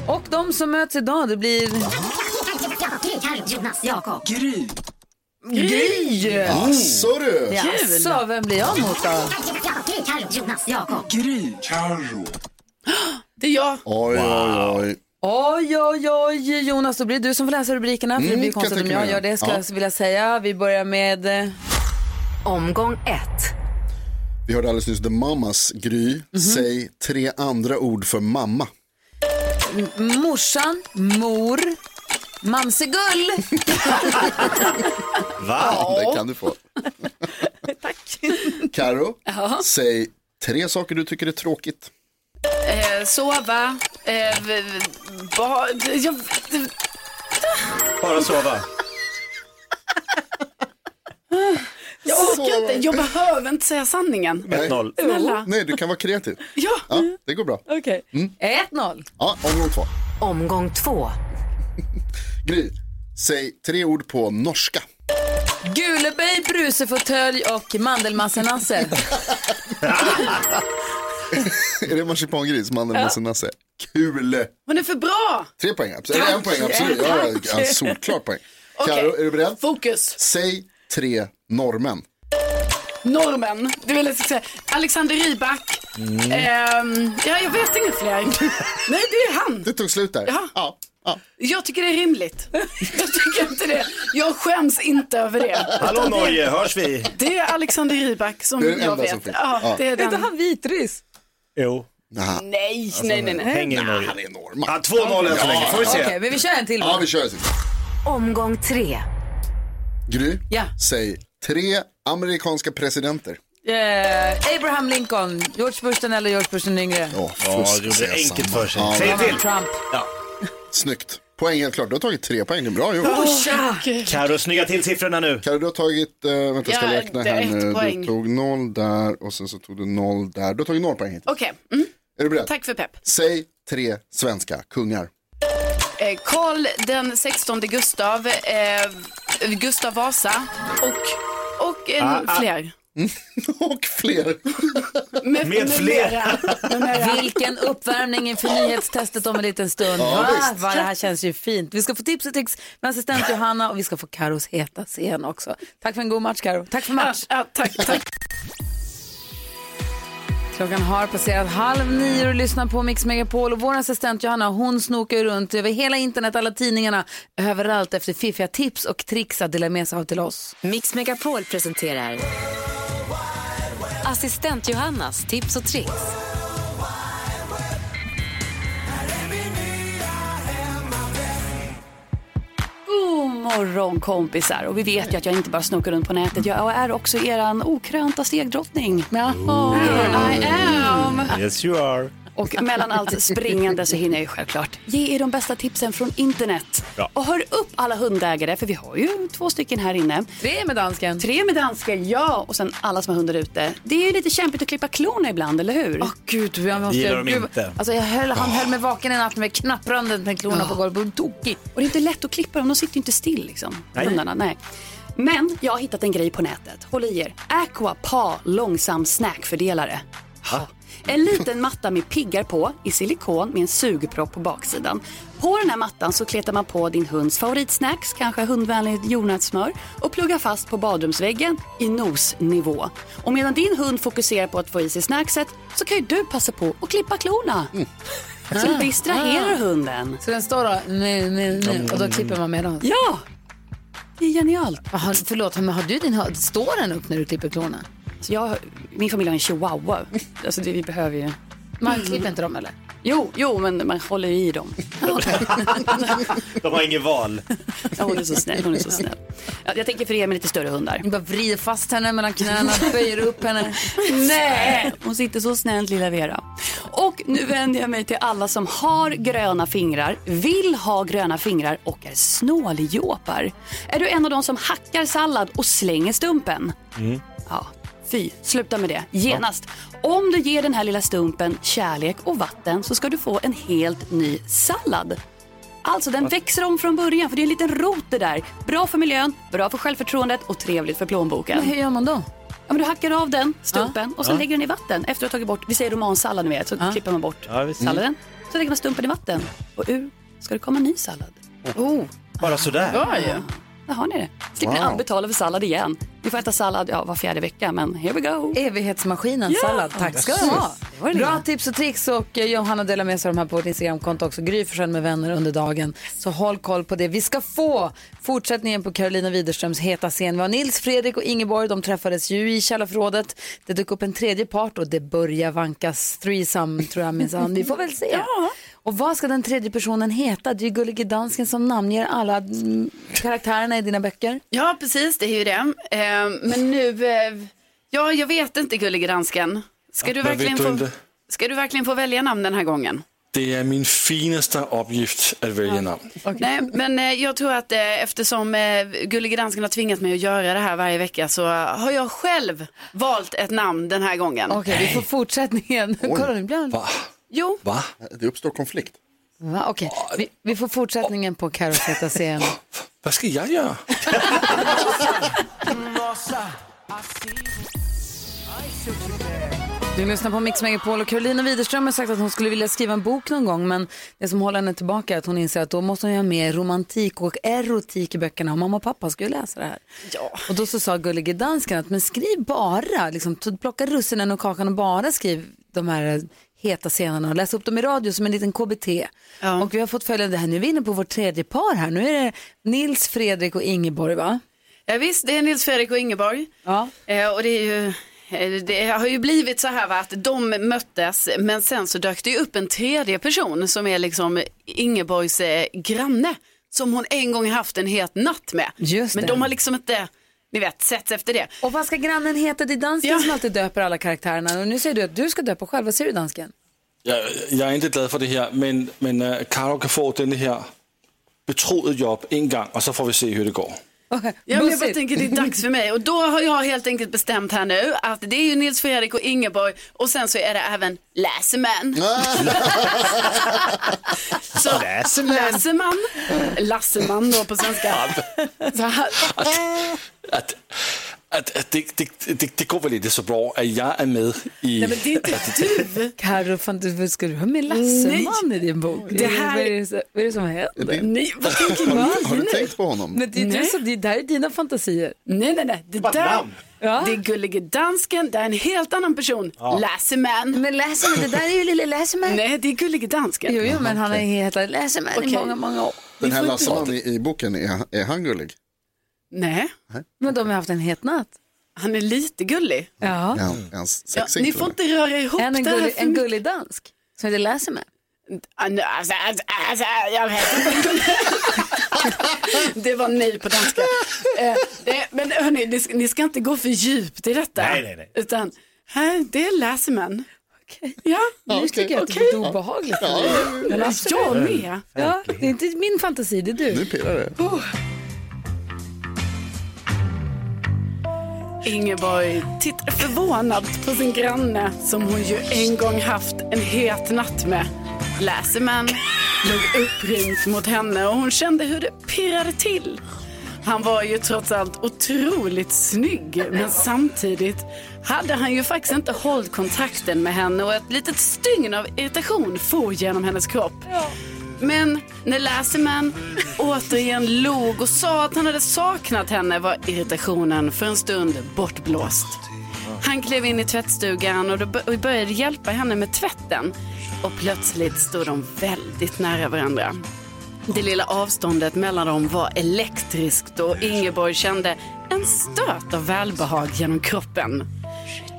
S1: Och de som möts idag, det blir...
S16: Jonas, Jakob.
S1: Gry. Gry!
S4: Mm. Asså du.
S1: Ja,
S4: Kul.
S1: så vem blir jag mot då?
S16: Jonas, Jakob.
S1: Gry.
S4: Carro.
S1: Det är jag.
S4: Oj, oj, oj.
S1: Oj, oj, oj, Jonas, då blir det du som får läsa rubrikerna. För det
S4: Mm,
S1: blir
S4: kan
S1: konstigt
S4: jag
S1: om
S4: tänka
S1: jag
S4: mig.
S1: gör det, ska
S4: Ja.
S1: jag vilja säga. Vi börjar med... eh,
S9: Omgång ett.
S4: Vi hörde alldeles nyss The Mamas Gry.
S14: Mhm.
S4: Säg tre andra ord för mamma.
S1: M- Morsan, mor, mamsegull.
S4: Va? Det kan du få. Tack. Karo,
S6: Ja.
S4: säg tre saker du tycker är tråkigt.
S6: Eh, sova, eh, v- v- bad, jag,
S5: Bara sova.
S6: Jag orkar inte, jag behöver inte säga sanningen.
S4: Nej.
S6: Snälla.
S4: Nej, du kan vara kreativ.
S6: Ja.
S4: det går bra.
S2: Okej.
S4: Mm.
S2: 1-0.
S4: Ja, omgång två.
S17: Omgång två.
S4: Gry, säg tre ord på norska.
S2: Guleböj, brusefåtölj och mandelmassenasse.
S4: är det marsipangris, mandel,
S2: Ja.
S4: ja. nasse? Kul!
S6: Hon är för bra.
S4: Tre poäng, absolut. Eller en poäng, absolut. Ja, ja, en solklar poäng.
S6: Okej.
S4: Karo, är du beredd?
S6: Fokus.
S4: Säg tre norrmän.
S6: Normen. Du vill jag ska säga Alexander Rybak. Ehm, ja, jag vet inget fler. Nej, det är han.
S4: Det tog slut där.
S6: Ja.
S4: Ja,
S6: Jag tycker det är rimligt. Jag tycker inte det. Jag skäms inte över det.
S5: Hallå
S6: Utan det-
S5: Norge, hörs vi?
S6: Det är Alexander Rybak som
S5: Det är den
S6: jag
S5: enda
S6: vet.
S5: som finns.
S6: ja,
S5: Ja.
S6: det är den.
S5: Är inte
S2: han vitryss?
S5: Jo.
S6: Nej,
S5: Alltså,
S6: nej, nej, nej.
S5: Hänger
S6: Nej,
S5: Norge.
S4: han är norrman.
S5: Ja, 2-0 än så
S4: Ja,
S5: länge, får vi se.
S2: Okej, men vi kör en till.
S4: ja vi kör en sista.
S17: Omgång tre.
S4: Gry,
S2: Ja.
S4: säg tre amerikanska presidenter.
S2: Eh, Abraham Lincoln, George Bush den äldre, George Bush den yngre.
S4: fusk,
S5: gjorde det
S4: säger jag
S5: enkelt
S4: samma.
S5: för sig.
S4: Ja,
S5: Säg
S4: men-
S5: till.
S2: Trump.
S4: Snyggt. Poäng helt klart. Du har tagit tre poäng. Det är bra gjort.
S6: Åh, tack.
S5: Karo, snygga till siffrorna nu.
S4: Karo, du har tagit, eh, vänta jag ska
S6: Ja,
S4: räkna
S6: det är
S4: här
S6: ett
S4: nu. Du
S6: poäng.
S4: tog noll där och sen så tog du noll där. Du har tagit noll poäng hittills.
S6: Okej, mm.
S4: Är du beredd?
S6: tack för pepp.
S4: Säg tre svenska kungar.
S6: Eh, Karl den 16 Gustav, eh, Gustav Vasa och, och en
S4: Ah, ah.
S6: fler.
S4: och fler.
S6: Med,
S4: fler.
S2: Vilken uppvärmning inför nyhetstestet om en liten stund.
S18: Ja,
S2: Va?
S18: visst.
S2: Va? Det här känns ju fint. Vi ska få tips och tricks med assistent Johanna och vi ska få Karos heta scen också. Tack för en god match Karo. Tack för match.
S6: tack, tack.
S2: Klockan har passerat halv nio och lyssnar på Mix Megapol och vår assistent Johanna hon snokar ju runt över hela internet, alla tidningarna, överallt efter fiffiga tips och tricks att dela med sig av till oss.
S17: Mix Megapol presenterar Assistent Johannas tips och tricks.
S15: God morgon kompisar! Och vi vet ju att jag inte bara snokar runt på nätet. Jag är också eran okrönta stegdrottning.
S2: Jaha.
S15: I am!
S5: Yes you are.
S15: Och mellan allt springande så hinner jag ju självklart ge er de bästa tipsen från internet.
S5: Bra.
S15: Och hör upp alla hundägare, för vi har ju två stycken här inne.
S2: Tre med dansken.
S15: Tre med dansken, ja. Och sen alla som har hundar ute. Det är ju lite kämpigt att klippa klorna ibland, eller hur? Åh
S2: gud, jag
S15: måste...
S2: Gillar de inte. Alltså jag höll, han höll mig vaken i natt med knappranden med klorna på golvet och tokig.
S15: Och det är inte lätt att klippa dem, de sitter ju inte still liksom.
S2: Nej.
S15: Hundarna, nej. Men jag har hittat en grej på nätet. Håll i er. Aqua Pa långsam snackfördelare.
S5: Ha?
S15: En liten matta med piggar på i silikon med en sugpropp på baksidan. På den här mattan så kletar man på din hunds favoritsnacks, kanske hundvänligt jordnötssmör och pluggar fast på badrumsväggen i nosnivå. Och medan din hund fokuserar på att få i sig snackset så kan ju du passa på att klippa klorna. Så du distraherar hunden.
S2: Så den står då, nej, nej, nej, och då klipper man med den?
S15: Ja! Det är genialt.
S2: Aha, förlåt, men har du din hö- Står den upp när du klipper klorna?
S15: Så jag, min familj har en chihuahua. Alltså det, vi behöver ju...
S2: Man klipper inte dem eller?
S15: Jo, jo, men man håller i dem.
S5: De har ingen val.
S15: Ja, hon är så snäll. Hon är så snäll. Ja, jag tänker för er med lite större hundar.
S2: Ni bara vrider fast henne mellan knäna, böjer upp henne.
S15: Nej! Hon sitter så snällt lilla Vera. Och nu vänder jag mig till alla som har gröna fingrar, vill ha gröna fingrar och är snåljåpar. Är du en av de som hackar sallad och slänger stumpen?
S5: Mm.
S15: Ja, fy, sluta med det genast. Om du ger den här lilla stumpen kärlek och vatten så ska du få en helt ny sallad. Alltså den växer om från början för det är en liten rot det där. Bra för miljön, bra för självförtroendet och trevligt för plånboken.
S2: Men hur gör man då?
S15: Ja, men du hackar av den, stumpen,
S2: Ja.
S15: och sen
S2: Ja.
S15: lägger den i vatten. Efter att ha tagit bort, vi säger romansallad med, så klipper man bort
S5: Ja, visst.
S15: salladen. Så lägger man stumpen i vatten och ur ska det komma en ny sallad. Oh.
S5: Bara sådär.
S15: Där har ni det. Slipper ni
S5: Wow.
S15: aldrig betala för sallad igen. Vi får äta sallad ja, var fjärde vecka, men here we go.
S2: Evighetsmaskinen
S15: Ja.
S2: sallad, tack ska du ha.
S15: Det var det
S2: Bra
S15: lilla.
S2: tips och tricks och eh, Johanna delar med sig av de här på vårt Instagramkonto också. Gry Forssell med vänner under dagen. Så håll koll på det. Vi ska få fortsättningen på Carolina Widerströms heta scen. Vi har Nils, Fredrik och Ingeborg. De träffades ju i källarförrådet. Det dök upp en tredje part och det börjar vankas threesome tror jag minsann. Vi får väl se. Och vad ska den tredje personen heta? Det är ju Gullige Dansken som namnger alla mm, karaktärerna i dina böcker.
S6: Ja, precis, det är ju det. Eh, men nu, eh, ja, jag vet inte gullige dansken. Ska,
S12: Men
S6: du
S12: vet
S6: verkligen
S12: du
S6: få,
S12: inte?
S6: ska du verkligen få välja namn den här gången?
S12: Det är min finaste uppgift att välja namn.
S6: Nej, men eh, jag tror att eh, eftersom eh, Gullige Dansken har tvingat mig att göra det här varje vecka så eh, har jag själv valt ett namn den här gången.
S2: Okej, vi får fortsättningen. Kolla, nu blir han...
S4: Va?
S6: Jo.
S12: Va?
S4: Det uppstår konflikt.
S2: Va? Okej, vi, vi får fortsättningen på Carro ZCM.
S12: Vad ska jag göra?
S2: Du lyssnar på Mix Megapol och Carolina Widerström har sagt att hon skulle vilja skriva en bok någon gång men det som håller henne tillbaka är att hon inser att då måste hon ha med romantik och erotik i böckerna och mamma och pappa skulle läsa det här.
S6: Ja.
S2: Och då så sa gullige dansken att men skriv bara, liksom, t- plocka russinen och kakan och bara skriv de här heta scenerna och läs upp dem i radio som en liten KBT. Och vi har fått följa det här, nu är vi inne på vårt tredje par här, nu är det Nils, Fredrik och Ingeborg va?
S6: Ja, visst, det är Nils Fredrik och Ingeborg.
S2: Ja.
S6: Eh, och det är ju... eh, Det har ju blivit så här va, att de möttes men sen så dök det ju upp en tredje person som är liksom Ingeborgs eh, granne som hon en gång haft en het natt med.
S2: Just
S6: men
S2: det.
S6: de har liksom inte, ni vet, setts efter det.
S2: Och vad ska grannen heta? Det är dansken som alltid döper alla karaktärerna och nu säger du att du ska döpa själv, vad säger du dansken?
S12: Jag, jag är inte glad för det här, men, men uh, Karo kan få den här betroet jobb en gång och så får vi se hur det går.
S6: Ja, men jag bara tänker det är dags för mig och då har jag helt enkelt bestämt här nu att det är ju Nils Fredrik och Ingeborg och sen så är det även Läseman.
S4: Ah.
S6: så
S1: Läseman.
S6: Läseman. Lasseman då på svenska. Så här.
S12: Att, att, att det, det, det, det går väl inte så bra att jag är med i...
S2: Nej, men det är inte
S12: att-
S6: du!
S2: Carro, fan, du, ska du ha med Lasseman i din bok?
S6: Det här-
S2: Vad är det, så- vad är det som händer?
S6: Nej, vad tänker
S4: Har
S2: du?
S4: du, har du tänkt på honom?
S2: Men det, är du
S6: Nej.
S2: som, det där är dina fantasier.
S6: Nej, nej, nej. Det där,
S2: namn.
S6: det är Gullige Dansken, det är en helt annan person.
S2: Ja.
S6: Läseman.
S2: Men Läseman, det där är ju lille Läseman.
S6: Nej, det är Gullige Dansken.
S2: Jo, jo, men han har ju hetat Läseman i
S6: Okej.
S2: många, många år.
S4: Den här Lasseman i, i boken, är, han- är han gullig?
S6: Nej,
S2: Men de har haft en het natt.
S6: han är lite gullig.
S2: Ja.
S4: Är han, är han
S6: Ja,
S4: sexig
S6: ni
S4: till
S6: får
S4: och med?
S6: inte röra ihop
S2: En, en,
S6: det här
S2: gullig,
S6: för
S2: en
S6: mycket.
S2: gullig dansk som heter Läseman.
S6: Ah, nu, Alltså, alltså, alltså, jag vet inte. Det var nej på danska. Eh, det, men hörni, ni, ska- ni ska inte gå för djupt i detta.
S1: Nej, nej, nej.
S6: Utan, här, det läser man. Ja,
S2: nu tycker jag att det är lite obehagligt.
S6: Ja,
S2: Men
S6: jag med.
S2: Ja, det är inte min fantasi, det är du.
S4: Nu pirrar det.
S6: Ingeborg tittar förvånad på sin granne som hon ju en gång haft en het natt med. Läseman låg upprymt mot henne och hon kände hur det pirrade till. Han var ju trots allt otroligt snygg men samtidigt hade han ju faktiskt inte hållit kontakten med henne och ett litet stygn av irritation for genom hennes kropp. Men när Läseman återigen log och sa att han hade saknat henne var irritationen för en stund bortblåst. Han klev in i tvättstugan och då bör- och började hjälpa henne med tvätten. Och plötsligt stod de väldigt nära varandra. Det lilla avståndet mellan dem var elektriskt och Ingeborg kände en stöt av välbehag genom kroppen.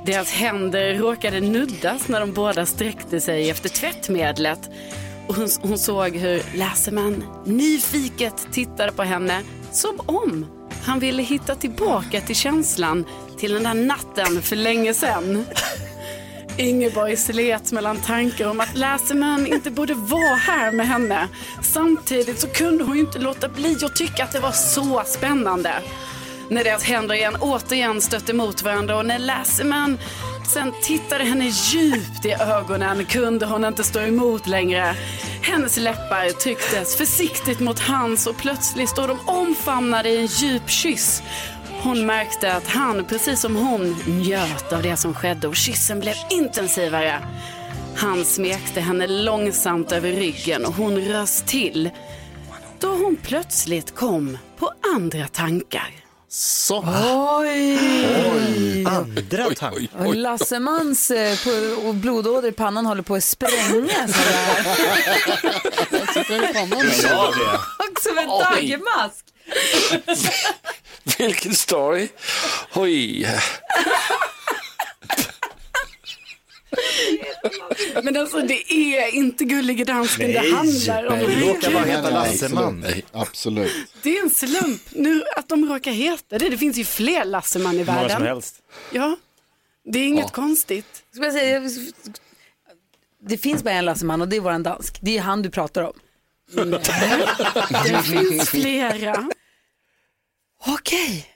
S6: Deras händer råkade nuddas när de båda sträckte sig efter tvättmedlet. Och hon, hon såg hur Läseman nyfiket tittade på henne som om han ville hitta tillbaka till känslan till den där natten för länge sedan. Ingeborg slet mellan tankar om att Läseman inte borde vara här med henne. Samtidigt så kunde hon ju inte låta bli att tycka att det var så spännande. När deras händer igen återigen stötte mot varandra och när Läseman sen tittade henne djupt i ögonen kunde hon inte stå emot längre. Hennes läppar trycktes försiktigt mot hans och plötsligt stod de omfamnade i en djup kyss. Hon märkte att han, precis som hon, njöt av det som skedde och kyssen blev intensivare. Han smekte henne långsamt över ryggen och hon rös till då hon plötsligt kom på andra tankar.
S4: Så.
S2: Oj!
S1: Andra tankar.
S2: Och Lassemans eh, på- och blodåder i pannan håller på att sprängas. av det här.
S1: Jag sa det.
S2: Också med en
S12: Oj.
S2: dagmask.
S12: Vilken story! Oj.
S6: Men alltså det är inte Gullige Dansken det handlar om.
S4: Nej, Absolut.
S6: Det är en slump nu att de råkar heta det. Det finns ju fler Lasseman i
S4: många
S6: världen.
S4: som helst.
S6: Ja, det är inget
S4: Ja.
S6: konstigt.
S2: Ska jag säga, det finns bara en Lasseman och det är våran dansk. Det är han du pratar om.
S15: Det finns flera.
S2: Okej.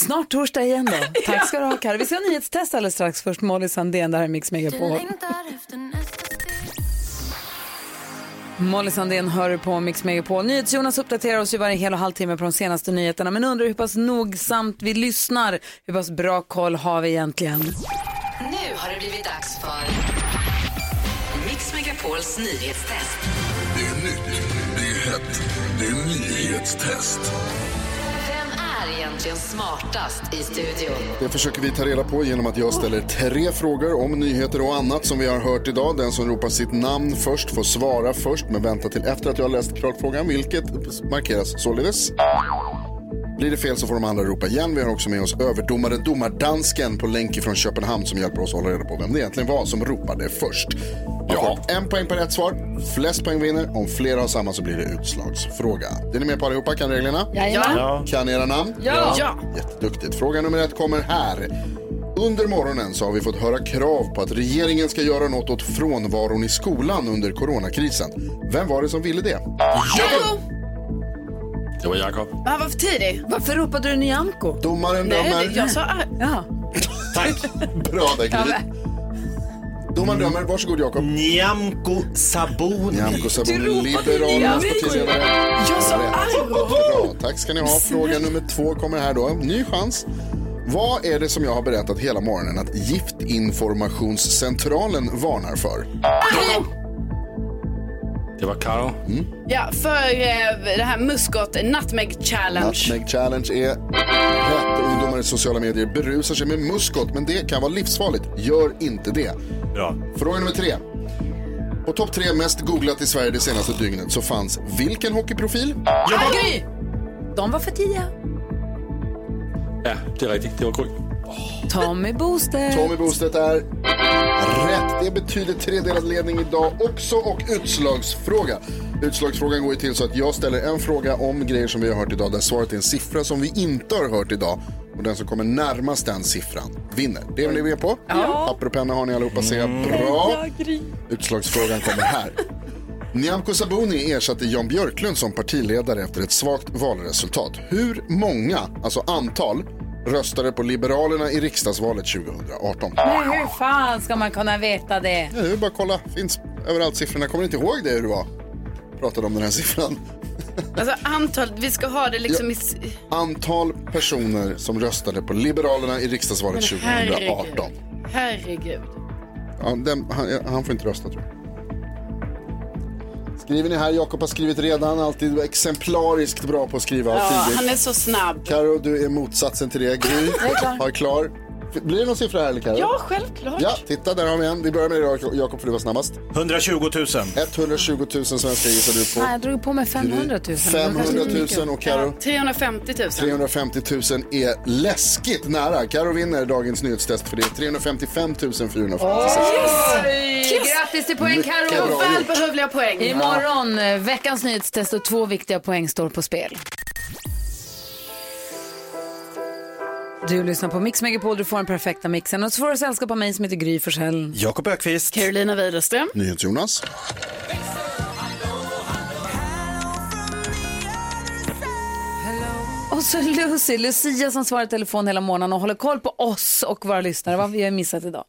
S2: Snart torsdag igen då. Tack ska du ha Karo. Vi ska ha nyhetstest alldeles strax. Först Molly Sandén, det här är Mix Megapol. Molly Sandén hör du på Mix Megapol. NyhetsJonas uppdaterar oss ju varje hel och halvtimme på de senaste nyheterna men undrar hur pass nogsamt vi lyssnar. Hur pass bra koll har vi egentligen?
S9: Nu har det blivit dags för Mix Megapols nyhetstest.
S19: Det är nytt, det är hett, det är nyhetstest.
S9: Vem är egentligen smartast i studion?
S4: Det försöker vi ta reda på genom att jag ställer tre frågor om nyheter och annat som vi har hört idag. Den som ropar sitt namn först får svara först men vänta till efter att jag har läst klart frågan, vilket markeras således. Blir det fel så får de andra ropa igen. Vi har också med oss överdomare Domardansken på länk från Köpenhamn som hjälper oss hålla reda på vem det egentligen var som ropade först. Ja. En poäng per rätt svar. Flest poäng vinner. Om flera har samma så blir det utslagsfråga. Är ni med på allihopa? Kan reglerna?
S19: Jajamän. Ja.
S4: Kan era namn?
S19: Ja. Ja.
S4: Jätteduktigt. Fråga nummer ett kommer här. Under morgonen så har vi fått höra krav på att regeringen ska göra något åt frånvaron i skolan under coronakrisen. Vem var det som ville det?
S12: Det var Jakob.
S6: Ah, vad för tidig.
S2: Varför ropade du Nyamko?
S4: Domaren
S6: Nej,
S4: dömer.
S6: det- jag sa...
S2: Ja.
S4: Tack. Bra där, Gry. Domaren dömer. Varsågod, Jakob.
S6: Mm.
S5: Nyamko Sabuni.
S4: Nyamko Sabuni,
S5: Du ropade
S4: Liberalernas
S5: Nyamko.
S4: partiledare.
S5: Jag sa
S4: Rätt. Bra, tack ska ni ha. Fråga nummer två kommer här då. Ny chans. Vad är det som jag har berättat hela morgonen att Giftinformationscentralen varnar för?
S12: Det var Karo.
S6: Ja, för eh, det här Muscot Nutmeg Challenge.
S4: Nutmeg Challenge är rätt. Ungdomar i sociala medier berusar sig med muskot, men det kan vara livsfarligt. Gör inte det.
S5: Bra.
S4: Fråga nummer tre. På topp tre mest googlat i Sverige det senaste dygnet så fanns vilken hockeyprofil?
S2: Gry! De var för tidiga.
S12: Ja, det är riktigt. Det var Gry.
S2: Tommy Bostedt.
S4: Tommy Bostedt är rätt. Det betyder tredelad ledning idag också och utslagsfråga. Utslagsfrågan går ju till så att jag ställer en fråga om grejer som vi har hört idag där svaret är en siffra som vi inte har hört idag. Och den som kommer närmast den siffran vinner. Det är ni med på?
S19: Ja.
S4: Papper och penna har ni allihopa ser jag. Bra. Utslagsfrågan kommer här. Nyamko Sabuni ersatte Jan Björklund som partiledare efter ett svagt valresultat. Hur många, alltså antal, röstade på Liberalerna i riksdagsvalet 2018?
S2: Men hur fan ska man kunna veta det?
S4: Ja, det är bara att kolla. Finns överallt siffrorna. Kommer inte ihåg det hur det var? Pratade om den här siffran.
S6: Alltså antal, vi ska ha det liksom i... s-
S4: Antal personer som röstade på Liberalerna i riksdagsvalet
S6: Men herregud.
S4: 2018.
S6: Herregud.
S4: Ja, den, han, han får inte rösta tror jag. Skriver ni här, Jakob har skrivit redan, alltid exemplariskt bra på att skriva.
S6: Ja,
S4: tidigt.
S6: han är så snabb.
S4: Karo, du är motsatsen till det. Gry
S6: Jag är klar.
S4: har klar. F- Blir det någon siffra här eller Karo?
S6: Ja, självklart.
S4: Ja, titta där har vi en. Vi börjar med dig Jakob för du var snabbast.
S5: 120 000.
S4: 120 000 svenskar gissar du på.
S2: Nej, jag drog på mig 500 000.
S4: 500 000 och Karo.
S6: 350 000.
S4: 350 000 är läskigt nära. Karo vinner dagens nyhetstest för det är 355 446.
S2: Oj, Grattis till poäng
S4: Mycket bra
S2: Carro.
S4: gjort.
S6: Välbehövliga poäng.
S2: Imorgon, eh, veckans nyhetstest och två viktiga poäng står på spel. Du lyssnar på Mix Megapol, du får den perfekta mixen och så får du sällskap av mig som heter Gry Forssell.
S5: Jakob Ökvist.
S6: Carolina Widerström.
S4: NyhetsJonas.
S2: Och så Lucy, Lucia som svarar i telefon hela morgonen och håller koll på oss och våra lyssnare. Vad har vi missat idag?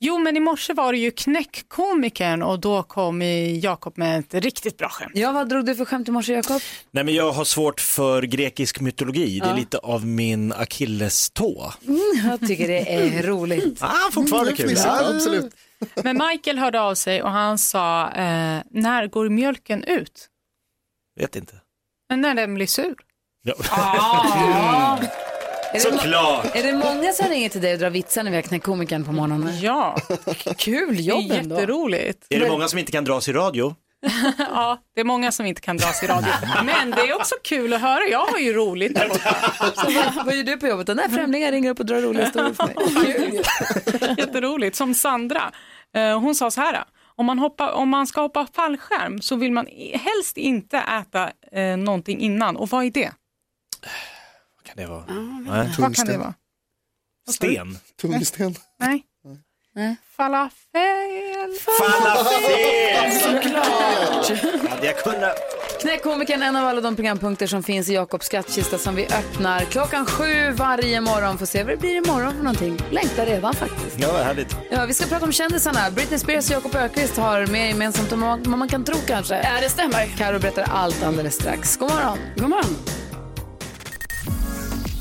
S20: Jo, men i morse var det ju knäckkomikern och då kom eh, Jakob med ett riktigt bra skämt.
S2: Ja, vad drog du för skämt i morse Jakob?
S5: Nej men jag har svårt för grekisk mytologi. Det
S2: Ja.
S5: är lite av min akillestå.
S2: Mm, jag tycker det är roligt.
S5: Ah, fortfarande kul. Ja, absolut.
S20: Men Michael hörde av sig och han sa, eh, när går mjölken ut?
S5: Vet inte.
S20: Men när den blir sur.
S5: Ja.
S2: Är det,
S5: Såklart.
S2: är det många som ringer till dig och drar vitsar när vi har knäckt komikern på morgonen?
S20: Ja.
S2: Kul jobb
S20: Det är
S2: ändå.
S20: jätteroligt.
S5: Är det många som inte kan dras i radio?
S20: ja, det är många som inte kan dras i radio. Men det är också kul att höra. Jag har ju roligt. där borta.
S2: Så vad, vad gör du på jobbet? Den där främlingen ringer upp och drar roliga historier för mig.
S20: Jätteroligt. Som Sandra, eh, hon sa så här. Om man, hoppar, om man ska hoppa fallskärm så vill man i- helst inte äta eh, någonting innan. Och vad är det?
S5: Kan det vara?
S20: Vad kan Tungsten. det vara?
S5: Sten.
S4: Tungsten.
S20: Nej. Falafel.
S5: Falafel!
S2: Såklart!
S5: Hade jag kunnat...
S2: Knäck komikern, en av alla de programpunkter som finns i Jakobs skattkista som vi öppnar klockan sju varje morgon. Får se vad det blir imorgon för någonting. Längtar redan faktiskt.
S5: Ja, vad härligt.
S2: Ja, vi ska prata om kändisarna. Britney Spears och Jakob Ökvist har mer gemensamt än vad man kan tro kanske. Ja, det stämmer. Karo berättar allt alldeles strax. God morgon. God morgon.